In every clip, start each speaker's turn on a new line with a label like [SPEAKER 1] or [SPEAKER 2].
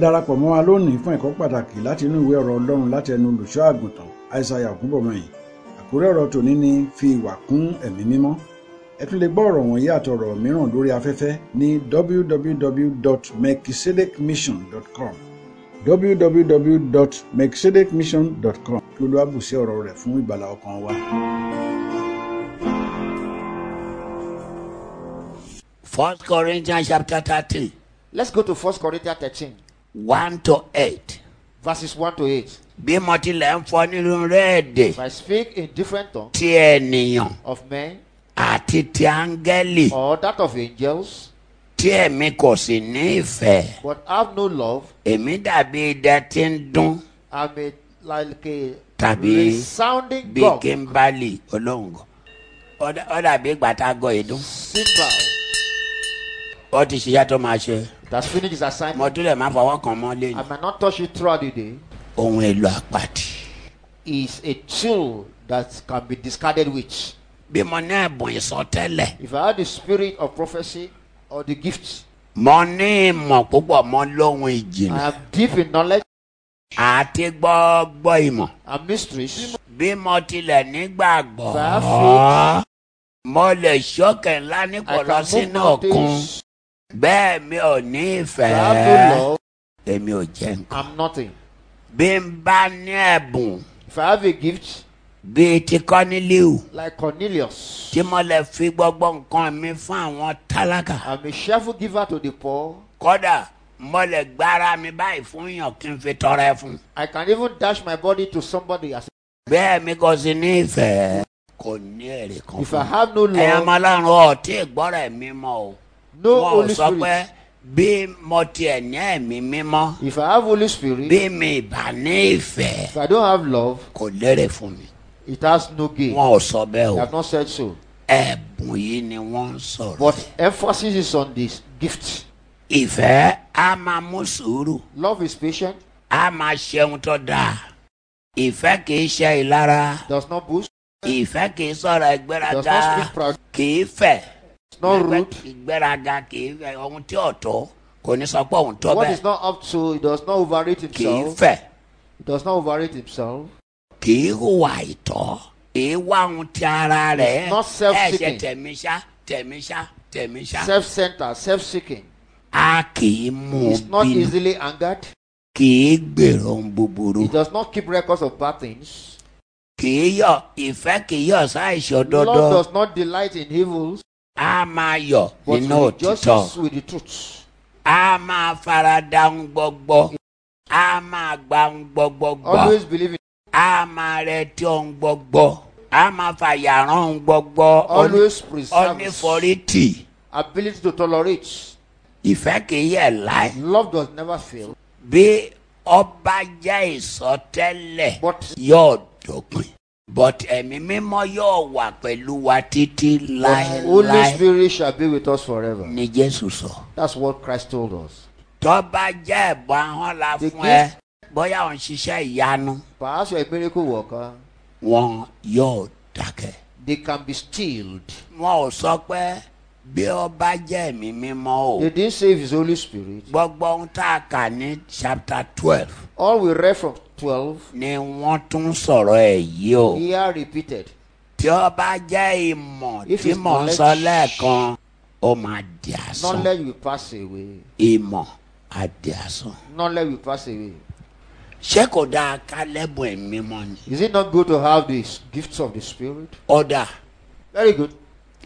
[SPEAKER 1] darapọ̀ mọ́ wa lónìí fún ẹ̀kọ́ pàtàkì láti inú ìwé ọ̀rọ̀ Ọlọ́run láti ẹnu olùṣọ́ àgùntàn Aìsàyà Ògúnbọ̀mọyìn àkórí ọ̀rọ̀ tòní ni fi ìwà kún ẹ̀mí mímọ́ ẹ tún lè gbọ́ ọ̀rọ̀ wọ̀nyí àtọ̀rọ̀ mìíràn lórí afẹ́fẹ́ ní www.mekisedekmission.com www.mekisedekmission.com kí Olúwa bù sí ọ̀rọ̀ rẹ̀ fún ìgbàlà ọkàn wa.
[SPEAKER 2] First Corinthians chapter 13,
[SPEAKER 3] Let's go to 1 Corinthians 13,
[SPEAKER 2] 1 to 8.
[SPEAKER 3] verses 1 to 8.
[SPEAKER 2] Bí mo tilẹ̀ ń fọ nínú rẹ́ẹ̀dì
[SPEAKER 3] If I speak in different tongues
[SPEAKER 2] ti ènìyàn
[SPEAKER 3] of men
[SPEAKER 2] àti ti áńgẹ́lì
[SPEAKER 3] or that of angels,
[SPEAKER 2] tí èmi kò sì ní ìfẹ́.
[SPEAKER 3] but have no love,
[SPEAKER 2] Èmi dàbí idẹ tí ń dún
[SPEAKER 3] I'm a, like a
[SPEAKER 2] Tàbí
[SPEAKER 3] resounding
[SPEAKER 2] bíi
[SPEAKER 3] gong,
[SPEAKER 2] kíńbálì olóńgò. Ó dà- Ó dàbí ìgbà tá a gọ ìdún.
[SPEAKER 3] cymbal.
[SPEAKER 2] Ó ti ṣiṣẹ́ tó máa ṣe.
[SPEAKER 3] That's finished his assignment.
[SPEAKER 2] Mo tún lè má fọwọ́ kan mọ́ lẹ́yìn.
[SPEAKER 3] I might not touch it throughout the day.
[SPEAKER 2] Ohun èlò àpàtì.
[SPEAKER 3] Is a tool that can be discarded with.
[SPEAKER 2] Bí mo ní ẹ̀bùn ìsọtẹ́lẹ̀.
[SPEAKER 3] If I had the spirit of prophecy or the gift,
[SPEAKER 2] Mo ní ìmọ̀ púpọ̀ mọ́ lóhun ìjìnlẹ̀.
[SPEAKER 3] I am deep in knowledge
[SPEAKER 2] àti gbọ́gbọ́ ìmọ̀.
[SPEAKER 3] and mysteries.
[SPEAKER 2] bí mo tilẹ̀ nígbàgbọ́.
[SPEAKER 3] Bá fi-
[SPEAKER 2] mo lè ṣókè ńlá
[SPEAKER 3] I
[SPEAKER 2] nípọ̀lọ́
[SPEAKER 3] can move
[SPEAKER 2] sínú òkun.
[SPEAKER 3] mountains.
[SPEAKER 2] bẹ́ẹ̀ mi ò ní
[SPEAKER 3] I have no
[SPEAKER 2] ìfẹ́.
[SPEAKER 3] love.
[SPEAKER 2] èmi ò jẹ́ nǹkan.
[SPEAKER 3] I'm nothing.
[SPEAKER 2] bí n bá ní ẹ̀bùn
[SPEAKER 3] If I have a gift
[SPEAKER 2] bíi ti kọ́nílíù
[SPEAKER 3] like Cornelius,
[SPEAKER 2] tí mo lè fi gbogbo nǹkan mi fún àwọn tálákà.
[SPEAKER 3] I'm a cheerful giver to the poor.
[SPEAKER 2] kódà mo lè gbára mi báyìí fún yàn kí n fi tọrẹ fún.
[SPEAKER 3] I can even dash my body to somebody. As
[SPEAKER 2] bẹ́ẹ̀ mi kò sí ní ìfẹ́. kò ní èrè kan
[SPEAKER 3] if
[SPEAKER 2] fún
[SPEAKER 3] I
[SPEAKER 2] mi.
[SPEAKER 3] have no
[SPEAKER 2] ẹ̀yin ọmọ
[SPEAKER 3] love,
[SPEAKER 2] ọlọ́run ọ̀ tí ìgbọ́rọ̀ ẹ̀mí mọ́ o.
[SPEAKER 3] no
[SPEAKER 2] wọn ò
[SPEAKER 3] Holy
[SPEAKER 2] sọ pé
[SPEAKER 3] Spirit.
[SPEAKER 2] bí mo tiẹ̀ ní ẹ̀mí mímọ́
[SPEAKER 3] If I have Holy Spirit,
[SPEAKER 2] bí mi ìbá ní ìfẹ́
[SPEAKER 3] if I don't have love,
[SPEAKER 2] kò lérè fún mi.
[SPEAKER 3] it has no gain.
[SPEAKER 2] wọn ò sọ bẹ́ẹ̀ o
[SPEAKER 3] They have not said so.
[SPEAKER 2] ẹ̀bùn yìí ni wọ́n ń sọ̀rọ̀.
[SPEAKER 3] But emphasis is on this gift.
[SPEAKER 2] ìfẹ́ á máa mú sùúrù
[SPEAKER 3] Love is patient,
[SPEAKER 2] á máa ṣe ohun tó dáa. ìfẹ́ kì í ṣe ìlara
[SPEAKER 3] does not boast,
[SPEAKER 2] ìfẹ́ kì í sọ̀rọ̀
[SPEAKER 3] does
[SPEAKER 2] ìgbéraga
[SPEAKER 3] not speak proud,
[SPEAKER 2] kì í fẹ̀.
[SPEAKER 3] is not rude.
[SPEAKER 2] ìgbéraga kì í fẹ̀ ohun tí ò tó kò ní sọ pé òun tó
[SPEAKER 3] What
[SPEAKER 2] bẹ́ẹ̀
[SPEAKER 3] is not up to, he does not overrate
[SPEAKER 2] kì í
[SPEAKER 3] himself.
[SPEAKER 2] fẹ̀.
[SPEAKER 3] He does not overrate himself.
[SPEAKER 2] kì í hùwà ìtọ́ kì í wá ohun ti ara rẹ̀
[SPEAKER 3] It's not self-seeking.
[SPEAKER 2] ẹ̀ṣẹ̀ tẹ̀mí ṣá tẹ̀mí ṣá tẹ̀mí ṣá.
[SPEAKER 3] Self-centered, self-seeking.
[SPEAKER 2] a kì í mú
[SPEAKER 3] He's
[SPEAKER 2] un
[SPEAKER 3] not
[SPEAKER 2] bínú
[SPEAKER 3] easily angered.
[SPEAKER 2] kì í gbèrò ohun búburú
[SPEAKER 3] He does not keep records of bad things.
[SPEAKER 2] kì í yọ ìfẹ́ kì í yọ sáìṣòdodo
[SPEAKER 3] Love does not delight in evils,
[SPEAKER 2] a máa yọ
[SPEAKER 3] but
[SPEAKER 2] nínú
[SPEAKER 3] no,
[SPEAKER 2] òtítọ́
[SPEAKER 3] justice with the truth.
[SPEAKER 2] a máa farada ohun gbogbo a máa gba ohun gbogbo gbà
[SPEAKER 3] Always believe in
[SPEAKER 2] a máa retí ohun gbogbo a máa fàyàrán ohun gbogbo
[SPEAKER 3] always preserve
[SPEAKER 2] oníforítì
[SPEAKER 3] ability to tolerate.
[SPEAKER 2] ìfẹ́ kì í yẹ̀ láì.
[SPEAKER 3] Love does never fail,
[SPEAKER 2] bí ọba jẹ́ ìsọtẹ́lẹ̀
[SPEAKER 3] but
[SPEAKER 2] yóò dópin but ẹ̀mí mímọ́ yóò wà pẹ̀lú wa títí
[SPEAKER 3] Holy
[SPEAKER 2] láéláé
[SPEAKER 3] Spirit shall be with us forever.
[SPEAKER 2] ni jésù sọ.
[SPEAKER 3] That's what Christ told us.
[SPEAKER 2] tọ́ba jẹ́ ẹ̀bùn ahọ́n la
[SPEAKER 3] The
[SPEAKER 2] fún ẹ bóyá òun ṣiṣẹ́ ìyanu
[SPEAKER 3] Perhaps you're a miracle worker.
[SPEAKER 2] wọn yóò dákẹ́.
[SPEAKER 3] They can be stilled.
[SPEAKER 2] wọn ò sọ pé bí ọba jẹ́ ẹ̀mí mímọ́ o
[SPEAKER 3] They didn't say if it's Holy Spirit.
[SPEAKER 2] gbogbo ohun tá a kà ní chapter twelve
[SPEAKER 3] All we read from 12,
[SPEAKER 2] ni wọ́n tún sọ̀rọ̀ ẹ̀ yìí o.
[SPEAKER 3] here repeated.
[SPEAKER 2] tí ó bá jẹ́ ìmọ̀
[SPEAKER 3] If
[SPEAKER 2] tí
[SPEAKER 3] it's
[SPEAKER 2] mò ń
[SPEAKER 3] knowledge-
[SPEAKER 2] sọ lẹ́ẹ̀kan ó máa di àsán
[SPEAKER 3] Knowledge will pass away.
[SPEAKER 2] ìmọ̀ á di àsán.
[SPEAKER 3] Knowledge will pass away.
[SPEAKER 2] ṣé kò dáa ká lẹ́bùn ẹ̀mí mọ́ ni.
[SPEAKER 3] Is it not good to have these gifts of the Spirit?
[SPEAKER 2] ó dà
[SPEAKER 3] Very good.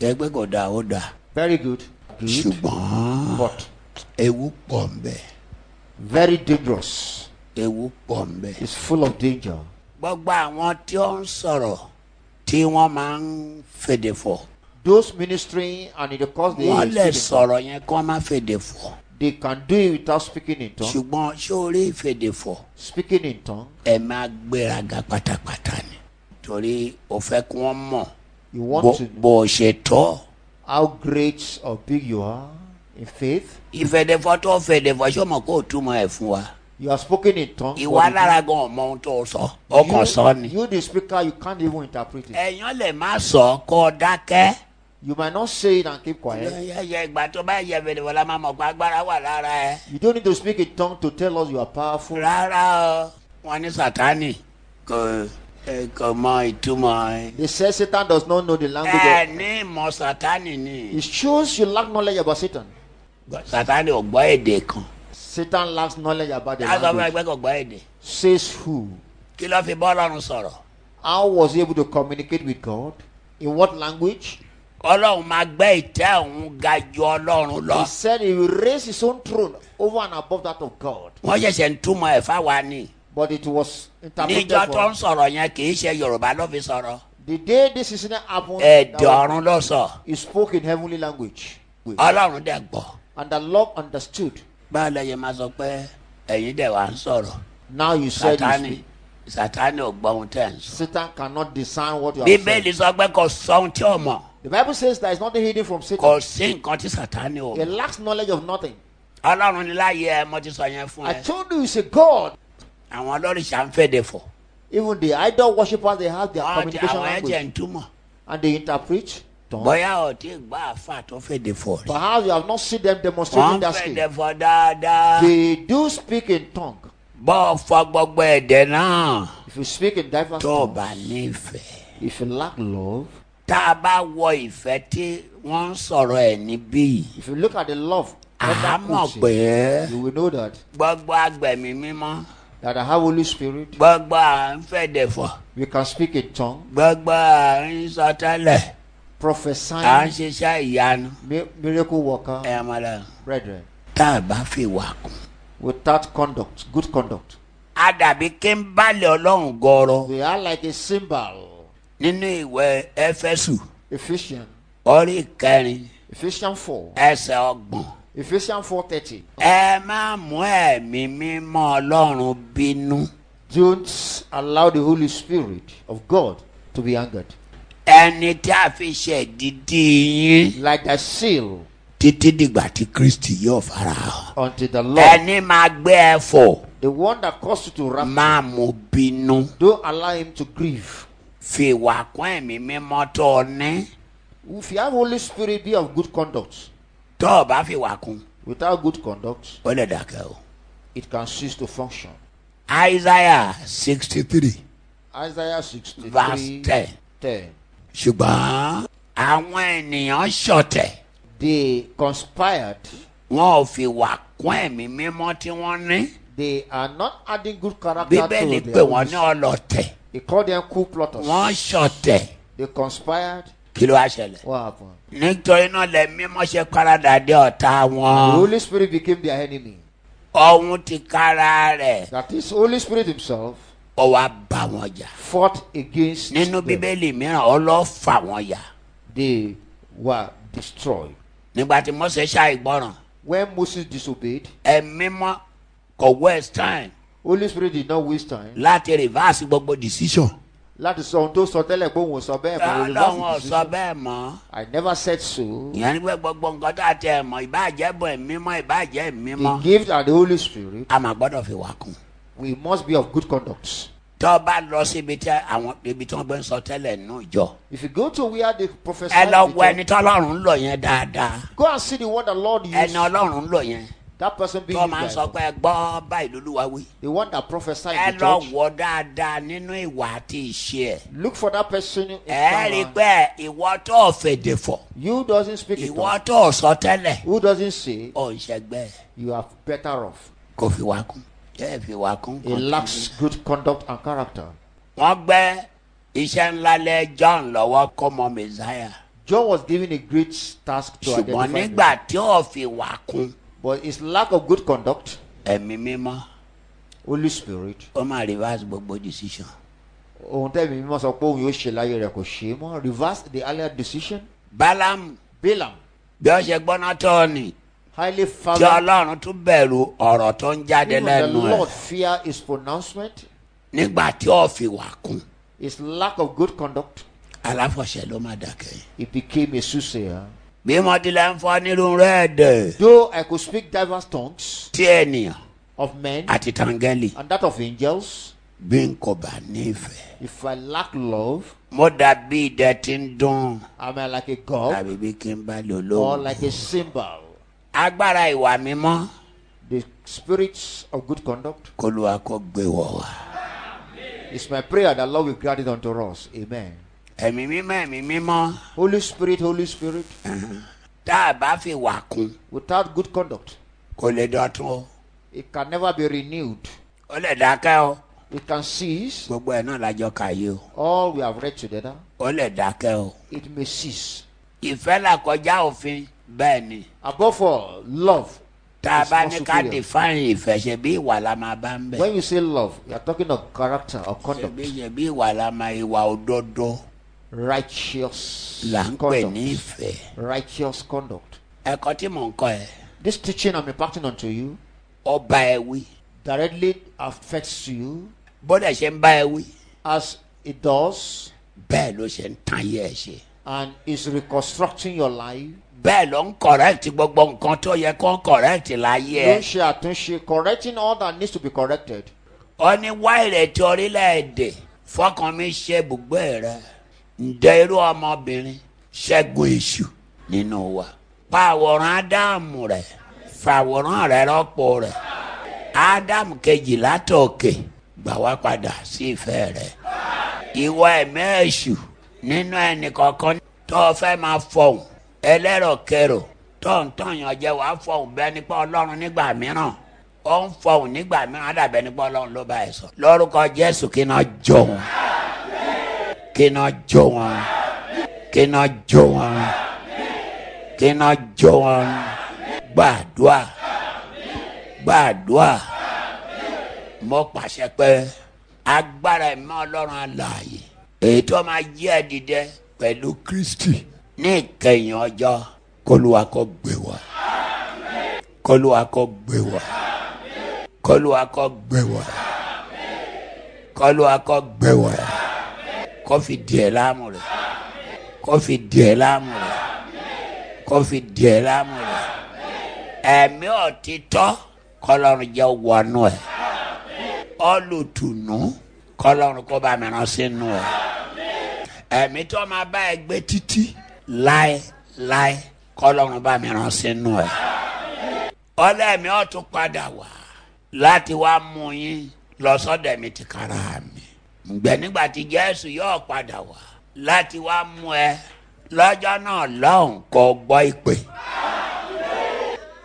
[SPEAKER 2] ẹgbẹ́ kò dáa ó dà
[SPEAKER 3] Very good. Good.
[SPEAKER 2] ṣùgbọ́n
[SPEAKER 3] But
[SPEAKER 2] ewu pọ̀ ń bẹ
[SPEAKER 3] very dangerous.
[SPEAKER 2] ewu pọ̀ ń bẹ.
[SPEAKER 3] It's full of danger.
[SPEAKER 2] gbogbo àwọn tí ó ń sọ̀rọ̀ tí wọ́n máa ń fèdè fọ̀
[SPEAKER 3] Those ministering and in the course they,
[SPEAKER 2] wọ́n lè
[SPEAKER 3] speak in-
[SPEAKER 2] sọ̀rọ̀ yẹn kí wọ́n má fèdè fọ̀
[SPEAKER 3] they can do it without speaking in tongue.
[SPEAKER 2] ṣùgbọ́n sórí ìfèdè fọ̀
[SPEAKER 3] Speaking in tongue.
[SPEAKER 2] ẹ máa gbéraga pátápátá ni torí o fẹ́ kí wọ́n mọ̀
[SPEAKER 3] You want
[SPEAKER 2] bó
[SPEAKER 3] to
[SPEAKER 2] bó o ṣe tọ́
[SPEAKER 3] how great or big you are in faith.
[SPEAKER 2] ìfẹ̀dẹ̀fọ́ tó fẹ̀dẹ̀fọ́ ṣé o mọ̀ kó o túmọ̀ ẹ̀ fún wa
[SPEAKER 3] You are spoken in tongue.
[SPEAKER 2] ìwà
[SPEAKER 3] but
[SPEAKER 2] lára gan ọmọ ohun tó o sọ o
[SPEAKER 3] you-
[SPEAKER 2] kàn sọ ni
[SPEAKER 3] You, the speaker, you can't even interpret it.
[SPEAKER 2] ẹ̀yàn lè má sọ kó o dákẹ́
[SPEAKER 3] You might not say it and keep quiet.
[SPEAKER 2] yẹyẹ ìgbà tó bá yẹ wèrè wọ́n la máa mọ̀ pé agbára wà lára ẹ
[SPEAKER 3] You don't need to speak in tongue to tell us you are powerful.
[SPEAKER 2] rárá o wọn ní sátánì kò ẹ kò mọ ìtumọ̀ ẹ.
[SPEAKER 3] They say Satan does not know the language.
[SPEAKER 2] ẹ
[SPEAKER 3] Of,
[SPEAKER 2] ní ìmọ̀ sátánì ni
[SPEAKER 3] it shows you lack knowledge about Satan.
[SPEAKER 2] sátánì ò gbọ́ èdè kan
[SPEAKER 3] Satan lacks knowledge about the
[SPEAKER 2] á sọ fún
[SPEAKER 3] language.
[SPEAKER 2] ẹgbẹ́ kò gbọ́ èdè
[SPEAKER 3] Says who?
[SPEAKER 2] kí ló fi bọ́ ọlọ́run sọ̀rọ̀
[SPEAKER 3] How was he able to communicate with God? In what language?
[SPEAKER 2] ọlọ́run máa gbẹ́ ìtẹ́ òun ga ju ọlọ́run lọ
[SPEAKER 3] He said he will raise his own throne over and above that of God.
[SPEAKER 2] wọ́n ṣẹ̀ṣẹ̀ ń túmọ̀ ẹ̀ fáwa ni
[SPEAKER 3] But it was interpreted
[SPEAKER 2] níjọ́ tó ń
[SPEAKER 3] for
[SPEAKER 2] sọ̀rọ̀ yẹn kì í ṣe yorùbá ló fi sọ̀rọ̀
[SPEAKER 3] the day this incident happened. that
[SPEAKER 2] ẹ̀dẹ̀
[SPEAKER 3] was-
[SPEAKER 2] ọ̀run ló sọ
[SPEAKER 3] he spoke in heavenly language.
[SPEAKER 2] ọlọ́run dẹ̀ gbọ́
[SPEAKER 3] And the Lord understood.
[SPEAKER 2] báwo lẹ yẹ máa sọ pé ẹ̀yin dẹ̀ wá ń sọ̀rọ̀
[SPEAKER 3] Now you said you
[SPEAKER 2] sátánì
[SPEAKER 3] speak.
[SPEAKER 2] sátánì ò gbọ́ ohun tẹ̀ ń sọ
[SPEAKER 3] Satan cannot discern what you have
[SPEAKER 2] bíbélì
[SPEAKER 3] said.
[SPEAKER 2] sọ pé kò sọ ohun tí ò mọ̀
[SPEAKER 3] The Bible says there is nothing hidden from
[SPEAKER 2] kò
[SPEAKER 3] Satan.
[SPEAKER 2] sí nǹkan tí sátánì ò
[SPEAKER 3] He
[SPEAKER 2] mọ̀
[SPEAKER 3] lacks knowledge of nothing.
[SPEAKER 2] ọlọ́run ní láàyè ẹ mo ti sọ yẹn fún
[SPEAKER 3] I
[SPEAKER 2] ẹ
[SPEAKER 3] told you, he's a God.
[SPEAKER 2] àwọn olóríṣà ń fèdè fọ̀
[SPEAKER 3] Even the idol worshippers, they have their
[SPEAKER 2] Àwọn ti-
[SPEAKER 3] communication
[SPEAKER 2] àwọn ẹ̀jẹ̀
[SPEAKER 3] language.
[SPEAKER 2] ń túmọ̀
[SPEAKER 3] And they interpret. tongues.
[SPEAKER 2] bóyá ò tí ì gbọ́ àfa tó fèdè fọ̀ rí.
[SPEAKER 3] Perhaps you have not seen them
[SPEAKER 2] wọ́n
[SPEAKER 3] demonstrating
[SPEAKER 2] ń
[SPEAKER 3] that skill.
[SPEAKER 2] fèdè fọ̀ dáadáa.
[SPEAKER 3] They do speak in tongue.
[SPEAKER 2] bọ́ ọ fọ gbogbo ẹ̀dẹ̀ náà
[SPEAKER 3] If you speak in diverse
[SPEAKER 2] tó o
[SPEAKER 3] tongues,
[SPEAKER 2] bá nífẹ̀ẹ́.
[SPEAKER 3] if you lack love,
[SPEAKER 2] tá a bá wọ ìfẹ́ tí wọ́n ń sọ̀rọ̀ ẹ̀ níbí yìí
[SPEAKER 3] if you look at the love,
[SPEAKER 2] à
[SPEAKER 3] of
[SPEAKER 2] á
[SPEAKER 3] that
[SPEAKER 2] mọ̀
[SPEAKER 3] person,
[SPEAKER 2] pé
[SPEAKER 3] you will know that
[SPEAKER 2] gbogbo agbẹ̀mí mímọ́
[SPEAKER 3] that I have Holy Spirit.
[SPEAKER 2] gbogbo à ń fẹ̀dẹ̀fọ̀
[SPEAKER 3] We can speak in tongue,
[SPEAKER 2] gbogbo à ń sọtẹ́lẹ̀ à ń
[SPEAKER 3] prophesying,
[SPEAKER 2] ṣiṣẹ́ ìyanu
[SPEAKER 3] mi- miracle worker,
[SPEAKER 2] ẹ̀ mọ̀lẹ́
[SPEAKER 3] brethren,
[SPEAKER 2] tá a bá fi wà kù.
[SPEAKER 3] without conduct, good conduct.
[SPEAKER 2] a dàbí kí n bálẹ̀ ọlọ́run gọrọ
[SPEAKER 3] We are like a symbol.
[SPEAKER 2] nínú ìwé ẹfẹ́sù
[SPEAKER 3] Ephesians,
[SPEAKER 2] orí kẹrin
[SPEAKER 3] Ephesians 4,
[SPEAKER 2] ẹsẹ̀ ọgbọ̀n.
[SPEAKER 3] Ephesians 4:30.
[SPEAKER 2] ẹ má mú ẹ̀mí mímọ́ ọlọ́run bínú
[SPEAKER 3] Don't allow the Holy Spirit of God to be angered.
[SPEAKER 2] ẹni tí a fi ṣe dídí yín
[SPEAKER 3] Like a seal
[SPEAKER 2] títí dìgbà tí kristi yóò fara hàn.
[SPEAKER 3] unto the Lord.
[SPEAKER 2] ẹni máa gbé ẹ fò
[SPEAKER 3] The one that caused you to wrath,
[SPEAKER 2] máa mú bínú
[SPEAKER 3] don't allow him to grieve.
[SPEAKER 2] fi ìwà kún ẹ̀mí mímọ́ tó o ní
[SPEAKER 3] If you have Holy Spirit, be of good conduct.
[SPEAKER 2] tó o bá fi ìwà kún
[SPEAKER 3] Without good conduct,
[SPEAKER 2] ó lè dàkẹ́ o.
[SPEAKER 3] it can cease to function.
[SPEAKER 2] isaiah sixty three
[SPEAKER 3] Isaiah
[SPEAKER 2] verse
[SPEAKER 3] 63
[SPEAKER 2] ten
[SPEAKER 3] 10.
[SPEAKER 2] ṣùgbọ́n àwọn ènìyàn ṣọ̀tẹ̀
[SPEAKER 3] They conspired,
[SPEAKER 2] wọn ò fi ìwà kún ẹ̀mí mímọ́ tí wọ́n ní.
[SPEAKER 3] they are not adding good character to
[SPEAKER 2] bíbélì pè
[SPEAKER 3] their
[SPEAKER 2] wọ́n ní
[SPEAKER 3] Holy Spirit.
[SPEAKER 2] ọlọ́tẹ̀
[SPEAKER 3] They call them coup plotters.
[SPEAKER 2] wọ́n ṣọ̀tẹ̀
[SPEAKER 3] They conspired.
[SPEAKER 2] kí ló wá ṣẹlẹ̀.
[SPEAKER 3] What happened?
[SPEAKER 2] nítorí náà lẹ mímọ́ ṣe káradà dé ọ̀tá
[SPEAKER 3] The
[SPEAKER 2] wọn.
[SPEAKER 3] Holy Spirit became their enemy.
[SPEAKER 2] ọ̀hún ti kára rẹ̀
[SPEAKER 3] That is, Holy Spirit Himself
[SPEAKER 2] ó wá bá wọn jà.
[SPEAKER 3] fought against
[SPEAKER 2] nínú
[SPEAKER 3] them.
[SPEAKER 2] bíbélì mìíràn ọlọ́fà wọn yà.
[SPEAKER 3] They were destroyed.
[SPEAKER 2] nígbà tí mọ́sẹ̀ ṣàìgbọràn
[SPEAKER 3] When Moses disobeyed,
[SPEAKER 2] ẹ̀mí mọ́ kò waste time
[SPEAKER 3] Holy Spirit did not waste time.
[SPEAKER 2] láti reverse gbogbo decision.
[SPEAKER 3] Láti sọ ohun tó sọ tẹ́lẹ̀ pé òun ò sọ bẹ́ẹ̀ kò
[SPEAKER 2] ọlọ́run
[SPEAKER 3] lè lọ́wọ́
[SPEAKER 2] ò sọ bẹ́ẹ̀ mọ́.
[SPEAKER 3] I never said so.
[SPEAKER 2] ìyẹn ní pé gbogbo nǹkan tá a tẹ ẹ̀ mọ́ ìbáàjẹ́ bọ̀ ẹ̀mí mọ́ ìbáàjẹ́ ẹ̀mí
[SPEAKER 3] The
[SPEAKER 2] mọ́.
[SPEAKER 3] gift and the Holy Spirit,
[SPEAKER 2] a máa gbọ́dọ̀ fi wà kún.
[SPEAKER 3] we must be of good conduct.
[SPEAKER 2] tọ́ ọ bá lọ síbi tí àwọn ibi tí wọ́n gbé ń sọ tẹ́lẹ̀ nù jọ.
[SPEAKER 3] If you go to where the professor
[SPEAKER 2] ẹ lọ wọ ẹni tọ́lọ́run ń lò yẹn dáadáa
[SPEAKER 3] go and see the one the Lord used,
[SPEAKER 2] ẹni ọlọ́run ń lò yẹn
[SPEAKER 3] that person being
[SPEAKER 2] tó
[SPEAKER 3] used
[SPEAKER 2] máa ń
[SPEAKER 3] by
[SPEAKER 2] sọ
[SPEAKER 3] God.
[SPEAKER 2] pé ẹ gbọ́ báyìí lolúwa wí.
[SPEAKER 3] the one that prophesied
[SPEAKER 2] ẹ
[SPEAKER 3] in
[SPEAKER 2] lọ
[SPEAKER 3] the church.
[SPEAKER 2] wọ dáadáa nínú ìwà àti ìṣe ẹ.
[SPEAKER 3] Look for that person in
[SPEAKER 2] ẹ rí i
[SPEAKER 3] someone.
[SPEAKER 2] pé ìwọ tó o fèdè fọ̀
[SPEAKER 3] You doesn't speak it
[SPEAKER 2] ìwọ
[SPEAKER 3] up.
[SPEAKER 2] tó o sọ tẹ́lẹ̀
[SPEAKER 3] Who doesn't say
[SPEAKER 2] ò ń ṣẹgbẹ́ ẹ.
[SPEAKER 3] you are better off?
[SPEAKER 2] kò fi wá kún ẹ fi wá kún.
[SPEAKER 3] He lacks good conduct and character.
[SPEAKER 2] wọ́n gbẹ́ iṣẹ́ ńlá lẹ́ john lọ́wọ́ kó mọ mẹ́sáyà
[SPEAKER 3] John was given a great task to
[SPEAKER 2] ṣùgbọ́n
[SPEAKER 3] identify.
[SPEAKER 2] nígbà
[SPEAKER 3] him.
[SPEAKER 2] tí o fi wá kún
[SPEAKER 3] But his lack of good conduct,
[SPEAKER 2] ẹ̀mí mímọ́.
[SPEAKER 3] Holy Spirit,
[SPEAKER 2] ó máa reverse gbogbo decision.
[SPEAKER 3] ohun tẹ́mi mímọ́ sọ pé òun yóò ṣe láyé rẹ̀ kò ṣe é mọ́. Reverse the earlier decision.
[SPEAKER 2] balaam
[SPEAKER 3] Balaam,
[SPEAKER 2] bí ó ṣe gbọ́ná tó ni
[SPEAKER 3] highly
[SPEAKER 2] tí
[SPEAKER 3] favored,
[SPEAKER 2] ọlọ́run tún bẹ̀rù ọ̀rọ̀ tó ń jáde
[SPEAKER 3] even the
[SPEAKER 2] lẹ́nu ẹ̀
[SPEAKER 3] Lord fear his pronouncement,
[SPEAKER 2] nígbà tí ó fi wà kún
[SPEAKER 3] his lack of good conduct.
[SPEAKER 2] aláfọ̀ṣẹ́ ló máa dàkẹ́.
[SPEAKER 3] He became a soothsayer.
[SPEAKER 2] bí mọ́tílẹ̀ ń fọ́ nírú rẹ́ẹ̀dẹ̀
[SPEAKER 3] Though I could speak diverse tongues
[SPEAKER 2] tí ènìyàn
[SPEAKER 3] of men
[SPEAKER 2] àti tàǹgẹ́lì
[SPEAKER 3] and that of angels,
[SPEAKER 2] bí n kò bá nífẹ̀ẹ́.
[SPEAKER 3] If I lack love,
[SPEAKER 2] mo dàbí idẹ tí ń dún
[SPEAKER 3] am I like a god
[SPEAKER 2] tàbí bí kí n bá lò
[SPEAKER 3] or
[SPEAKER 2] lóhùn.
[SPEAKER 3] like a symbol?
[SPEAKER 2] agbára ìwà mímọ́
[SPEAKER 3] The spirits of good conduct.
[SPEAKER 2] kó lu akọgbé wọ̀ wá.
[SPEAKER 3] It's my prayer that Lord will grant it unto us. Amen.
[SPEAKER 2] ẹ̀mí mímọ́ ẹ̀mí mímọ́
[SPEAKER 3] Holy Spirit, Holy Spirit,
[SPEAKER 2] tá a bá fi wà kún
[SPEAKER 3] without good conduct,
[SPEAKER 2] kò lè dọ̀tún o.
[SPEAKER 3] it can never be renewed.
[SPEAKER 2] ó lè dákẹ́ o.
[SPEAKER 3] It can cease.
[SPEAKER 2] gbogbo ẹ̀ náà lájọ kà yìí o.
[SPEAKER 3] All we have read together,
[SPEAKER 2] ó lè dákẹ́ o.
[SPEAKER 3] it may cease.
[SPEAKER 2] ìfẹ́ là kọjá òfin bẹ́ẹ̀ ni.
[SPEAKER 3] Above all, love.
[SPEAKER 2] tá a
[SPEAKER 3] is
[SPEAKER 2] bá
[SPEAKER 3] not
[SPEAKER 2] ní ká
[SPEAKER 3] superior.
[SPEAKER 2] define ìfẹ́ ṣe bí ìwà la máa bá ń bẹ̀.
[SPEAKER 3] When you say love, you are talking of character or conduct.
[SPEAKER 2] ṣebí ṣe bí ìwà la máa ìwà òdodo
[SPEAKER 3] Righteous
[SPEAKER 2] là ń pè ní
[SPEAKER 3] conduct.
[SPEAKER 2] ìfẹ́.
[SPEAKER 3] Righteous conduct.
[SPEAKER 2] ẹ̀kọ́ tí mò ń kọ́ ẹ
[SPEAKER 3] This teaching I'm imparting unto you
[SPEAKER 2] ọba ẹ wí
[SPEAKER 3] directly affects you
[SPEAKER 2] bọ́dẹ̀ ṣe ń bá ẹ wí
[SPEAKER 3] as it does
[SPEAKER 2] bẹ́ẹ̀ ló ṣe ń tan yẹ ẹ ṣe
[SPEAKER 3] and is reconstructing your life.
[SPEAKER 2] bẹ́ẹ̀ ló ń correct gbogbo nǹkan tó yẹ kó correct láyé ẹ
[SPEAKER 3] Don't share, don't share, correcting all that needs to be corrected.
[SPEAKER 2] ọ ní wá ìrètí orílẹ̀-èdè fọkàn mi ṣe ibùgbé rẹ ǹdẹ́ irú ọmọbìnrin ṣẹ́gun èṣù nínú wa pa àwòrán ádámù rẹ fàwòrán rẹ rọ́pò rẹ ádámù kejì látòkè gbà wá padà sí ìfẹ́ rẹ ìwọ ẹ̀mí èṣù nínú ẹnì kọ̀ọ̀kan tó o fẹ́ máa fọhùn ẹlẹ́rọ̀kẹrò tó ń tọ̀yàn jẹ wàá fọhùn bẹ́ẹ̀ nípa ọlọ́run nígbà mìíràn ó ń fọhùn nígbà mìíràn dàbẹ́ nípa ọlọ́run ló bá ẹ̀ sọ. lórúkọ jésù kí iná jó wọn kí iná jó wọn kí iná jó wọn kí iná jó wọn gbàdúà gbàdúà mo pàṣẹ pé agbára ẹ̀mọ́ ọlọ́run alààyè èyí tó máa yí ẹ dìde pẹ̀lú kristi ní ìkẹyìn ọjọ́ kólúwa kó gbé wá kólúwa kó gbé wá kólúwa kó gbé wá kólúwa kó gbé wá kó fi díẹ̀ láàmú rẹ̀ kó fi díẹ̀ láàmú rẹ̀ kó fi díẹ̀ láàmú rẹ̀ ẹ̀mí òtítọ́ kọlọ́run jẹ́ wọnú ẹ̀ ọlùtùnú kọlọ́run kó bá mi rán sínú ẹ̀. ẹ̀mí tó máa bá ẹ gbé títí láéláé kọlọ́run bá mi rán sínú ẹ̀. ọlẹ́mi ó tún padà wá láti wá mú yín lọ sọ́dọ̀ ẹ̀mí ti kára mi. ǹgbẹ́ nígbà tí jésù yóò padà wá láti wá mú ẹ lọ́jọ́ náà lọ́hùn kó gbọ́ ìpè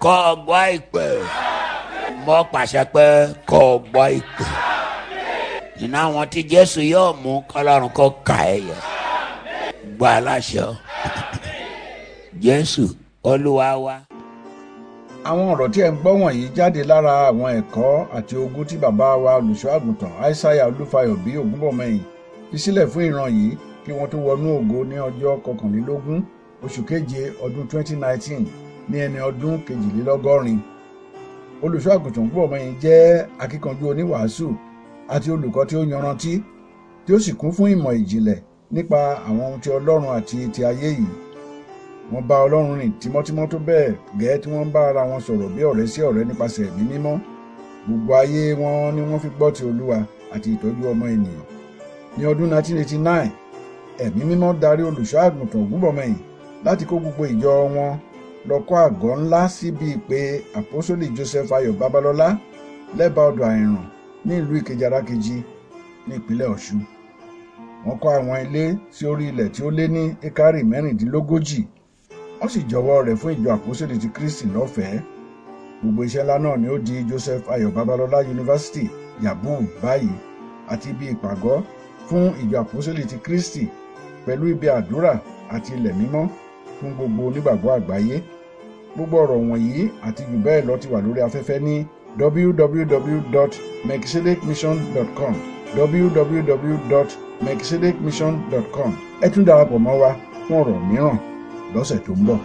[SPEAKER 2] kó gbọ́ ìpè mo pàṣẹ pé kó o gbọ́ ìpè nínú àwọn tí jésù yóò mú kọlọ́run kó kà ẹ́ yẹ gbọ́ aláṣẹ o. jésù olúwa wa.
[SPEAKER 1] àwọn ọ̀rọ̀ tí ẹ̀ ń gbọ́ wọ̀nyí jáde lára àwọn ẹ̀kọ́ àti ogún tí bàbá wa olùṣọ́àgùntàn aishaiya olúfayọ bí ògúnbọ̀mọyìn fi sílẹ̀ fún ìran yìí kí wọ́n tó wọnú ògo ní ọjọ́ kọkànlélógún oṣù keje ọdún 2019 ní ẹni ọdún kejìlélọ́gọ́rin olùṣọ́àgùntàn ògúnbọ̀mọyìn jẹ́ akíkanjú oníwàásù àti olùkọ́ tí ó yanrantí tí ó sì kún fún ìmọ̀ ìjìnlẹ̀ nípa àwọn ohun ti ọlọ́run àti ti ayé yìí wọ́n bá ọlọ́run rìn tímọ́tímọ́ tó bẹ́ẹ̀ gẹ́ẹ́ tí wọ́n ń bá ara wọn sọ̀rọ̀ bí ọ̀rẹ́ sí ọ̀rẹ́ nípasẹ̀ ẹ̀mí mímọ́ gbogbo ayé wọn ni wọ́n fi gbọ́ ti olúwa àti ìtọ́jú ọmọ ènìyàn ní ọdún 1989 ẹ̀mí mímọ́ darí olùṣọ́ àgùntàn ògúnbọ̀mọyìn láti kó gbogbo ìjọ wọn lọ kọ́ àgọ́ ńlá síbi ìpè àpọ́sólì joseph ayọ̀ babalọ́lá lẹ́bàá ọdọ̀ àìràn ní ìlú ìkejì arákejì ní ìpínlẹ̀ ọ̀ṣun wọ́n kọ́ àwọn ilé sí orí ilẹ̀ tí ó lé ní ekari mẹ́rìndínlógójì wọ́n sì jọwọ́ rẹ̀ fún ìjọ àpòsílẹ̀ ti kristi lọ́fẹ̀ẹ́ gbogbo iṣẹ́ ńlá náà ni ó di joseph ayọ̀ babalọ́lá yunifásitì yabu báyìí àti ibi ìpàgọ́ fún ìjọ àpòsílẹ̀ ti kristi pẹ̀lú ibi àdúrà àti ilẹ̀ mímọ́ fún gbogbo onígbàgbọ́ àgbáyé gbogbo ọ̀rọ̀ wọ̀nyí àti jù bẹ́ẹ̀ lọ ti wà lórí afẹ́fẹ́ ní www.mexilecmission.com www.mexilecmission.com ẹ tún darapọ̀ mọ́ wa fún ọ̀rọ̀ mìíràn lọ́sẹ̀ tó ń bọ̀.